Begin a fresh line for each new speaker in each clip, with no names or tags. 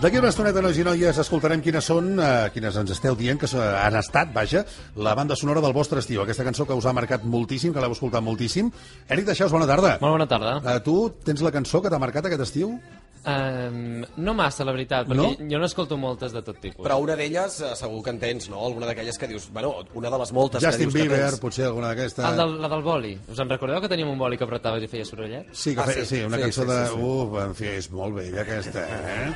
D'aquí una estoneta, nois i noies, escoltarem quines són, eh, quines ens esteu dient, que s- han estat, vaja, la banda sonora del vostre estiu. Aquesta cançó que us ha marcat moltíssim, que l'heu escoltat moltíssim. Eric Deixaus, bona tarda.
Molt bona tarda.
Eh, tu tens la cançó que t'ha marcat aquest estiu?
Um, no massa, la veritat, perquè no? jo no escolto moltes de tot tipus.
Però una d'elles eh, segur que en tens, no? Alguna d'aquelles que dius... Bueno, una de les moltes
Justin
que dius
Bieber,
que tens.
potser alguna d'aquestes...
El del, la del boli. Us en recordeu que teníem un boli que apretaves i feia sorollet?
Sí, que
Ah,
ah, sí,
sí.
sí, una
Sí,
sí, cançó
sí,
de...
sí, sí.
Uf, en fi, és molt vella aquesta, eh?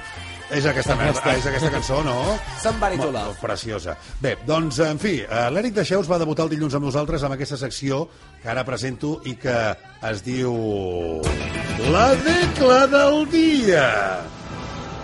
És aquesta, aquesta. és aquesta cançó, no?
Somebody to
Molt-
love.
Preciosa. Bé, doncs, en fi, eh, l'Eric Deixeus va debutar el dilluns amb nosaltres amb aquesta secció que ara presento i que es diu... La Decla del Dia!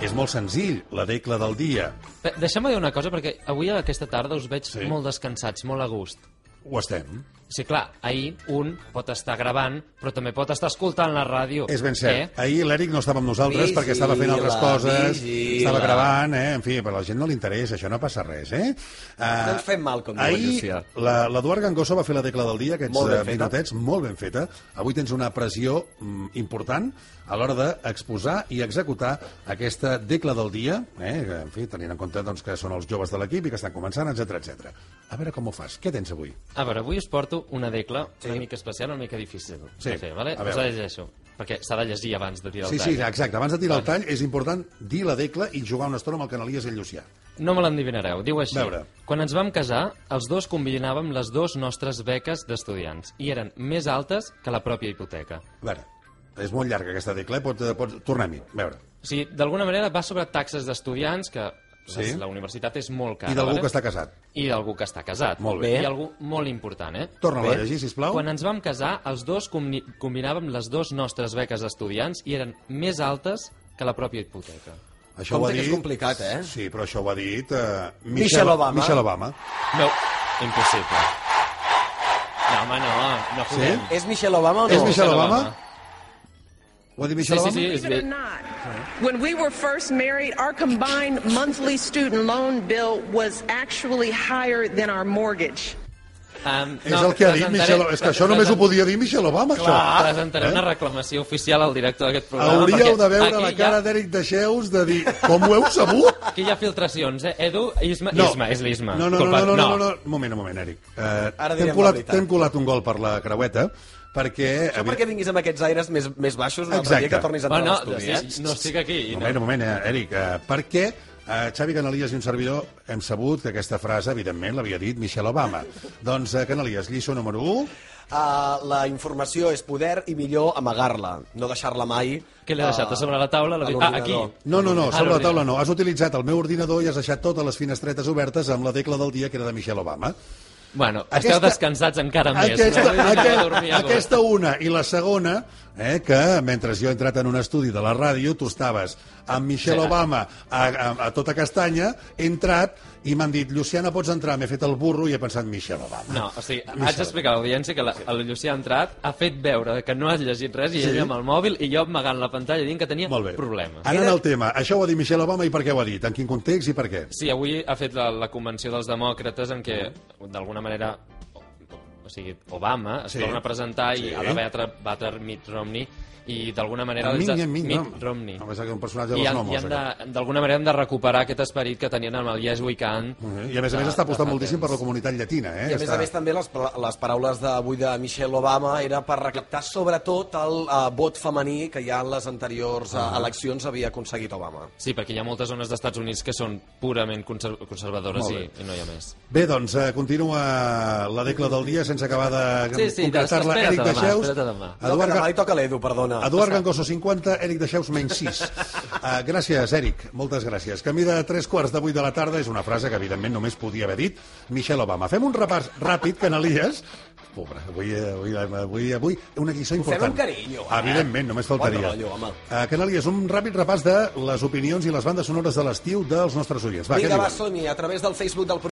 És molt senzill, la Decla del Dia.
Bé, Deixa'm dir una cosa, perquè avui a aquesta tarda us veig
Sí.
sí. molt descansats, molt a gust.
Ho estem.
Sí, clar, ahir un pot estar gravant, però també pot estar escoltant la ràdio.
És ben cert.
Eh?
Eh? Ahir l'Eric no estava amb nosaltres
Vigila,
perquè estava fent altres coses,
vigila.
estava gravant, eh? en fi, però a la gent no li interessa, això no passa res. Eh? Uh,
No ens fem mal, com diu la
Ahir
Llucia.
la- l'Eduard Gangosa va fer la tecla del dia, aquests
Molt ben
eh,
feta.
minutets, molt ben feta. Avui tens una pressió mm, important a l'hora d'exposar i executar aquesta decla del dia, eh? que, en fi, tenint en compte doncs, que són els joves de l'equip i que estan començant, etc etc. A veure com ho fas. Què tens avui?
A veure, avui us porto una decla una mica especial, una mica difícil
Sí.
de fer, vale?
A
Us la
veure.
llegeixo, perquè s'ha de llegir abans de tirar
Sí,
el
sí,
tall.
exacte. Abans de tirar el tall, és important dir la decla i jugar una estona amb el Canalies i el Llucià.
No me l'endivinareu, diu així.
Veure.
Quan ens vam casar, els dos combinàvem les dues nostres beques d'estudiants i eren més altes que la pròpia hipoteca.
A veure, és molt llarga aquesta tecla, eh? pot, eh, pot... tornem-hi, a veure.
O sigui, d'alguna manera va sobre taxes d'estudiants, que sí.
Sí.
la universitat és molt cara.
I d'algú
vale?
que està casat.
I d'algú que està casat.
Molt bé.
I algú molt important, eh?
Torna-la a
Bé.
llegir, sisplau.
Quan ens vam casar, els dos combi combinàvem les dues nostres beques d'estudiants i eren més altes que la pròpia hipoteca.
Això
Compte que és complicat, eh?
Sí, però això ho ha dit... Eh...
Michelle Obama.
Michelle Obama.
No, impossible. No, home, no, no podem.
És Michelle Obama o no?
És Michelle Obama?
Obama.
Ho ha dit
Sí,
Michelle
sí,
Obama?
sí, és
Believe
bé.
it or not, when we were first married, our combined monthly student loan bill was actually higher than our mortgage.
Um,
És el que ha dit Michelle Obama. És que això només ho podia dir Michelle Obama, això.
Presentaré una reclamació oficial al director d'aquest programa.
Hauríeu
perquè
de veure la
aquí
cara
hi ha,
d'Eric Deixeus de dir com ho heu sabut?
Aquí hi ha filtracions, eh? Edu, Isma, Isma, és l'Isma.
No, no, no,
Culpa-
no, no, no, no, un moment, un moment, Eric. Eh,
Ara
T'hem
direm la
colat,
veritat.
t'hem colat un gol per la creueta, perquè...
Això perquè vinguis amb aquests aires més, més baixos un altre
Exacte.
dia que tornis a entrar
Bueno,
a l'estudi, eh?
no, no estic aquí.
Un
No.
moment, un moment, eh, Eric. Eh, per què eh, Xavi Canalies i un servidor hem sabut que aquesta frase, evidentment, l'havia dit Michelle Obama? doncs, eh, Canalies, lliçó número 1.
Uh, la informació és poder i millor amagar-la, no deixar-la mai...
Què l'he deixat? A sobre la taula? La...
a
Ah, aquí.
l'ordinador.
No, no, no,
Ah,
sobre la
l'ordinador.
taula no. Has utilitzat el meu ordinador i has deixat totes les finestretes obertes amb la tecla del dia que era de Michelle Obama.
Bueno,
Aquesta-
esteu descansats encara més.
Aquesta,
Però vull dir, anava a
aquesta,
dormir a gust.
aquesta una i la segona, eh, que mentre jo he entrat en un estudi de la ràdio, tu estaves amb Michelle
Sí.
Obama a, a, a tota castanya, he entrat i m'han dit, Luciana, pots entrar? M'he fet el burro i he pensat Michelle Obama.
No, o sigui, haig d'explicar a l'audiència que la, el Llucià ha entrat, ha fet veure que no has llegit res i
Sí.
ell amb el mòbil i jo amagant la pantalla dient que tenia
Molt bé.
problemes.
Anant al tema, això ho ha dit Michelle Obama i per què ho ha dit? En quin context i per què?
Sí, avui ha fet la, la convenció dels demòcrates en què, d'alguna manera, o, o sigui, Obama es
Sí.
sí. torna a presentar
Sí.
i ha de batre, batre Mitt Romney i d'alguna manera...
En
des de-
Ming, en Ming,
Mitt
no.
Romney.
Em pensava que era un personatge
I
dels eh?
han,
nomos,
i han
aquest.
de- d'alguna manera hem de recuperar aquest esperit que tenien amb el Yes We Can.
Mm-hmm. I a més a més
de-
està apostant
de fa
moltíssim per
temps.
la comunitat llatina, eh?
I a més
Està-
a més també les, pla- les paraules d'avui de Michelle Obama era per recaptar sobretot el uh, vot femení que ja en les anteriors uh,
Ah.
eleccions havia aconseguit Obama.
Sí, perquè hi ha moltes zones d'Estats Units que són purament conser conservadores
Molt
i,
bé.
i no hi ha més.
Bé, doncs, eh, continua la decla del dia sense acabar de
Sí, sí,
concretar-la.
espera't
Eric
demà,
Deixeus,
espera't demà.
No, que
Eduard,
demà
Ga-
li toca a l'Edu, perdona.
Eduard Gangoso, 50, Eric Deixeus, menys 6. Uh, gràcies, Eric, moltes gràcies. Camí de tres quarts de vuit de la tarda és una frase que, evidentment, només podia haver dit Michelle Obama. Fem un repàs ràpid, canalies. Pobre, avui, eh, avui, avui, avui una lliçó
fem
important.
amb carinyo, eh?
Evidentment, només faltaria.
Bon rotllo, home.
Eh, canalies, un ràpid repàs de les opinions i les bandes sonores de l'estiu dels nostres oients. Va, què
Vinga, va,
diuen?
som a través del Facebook del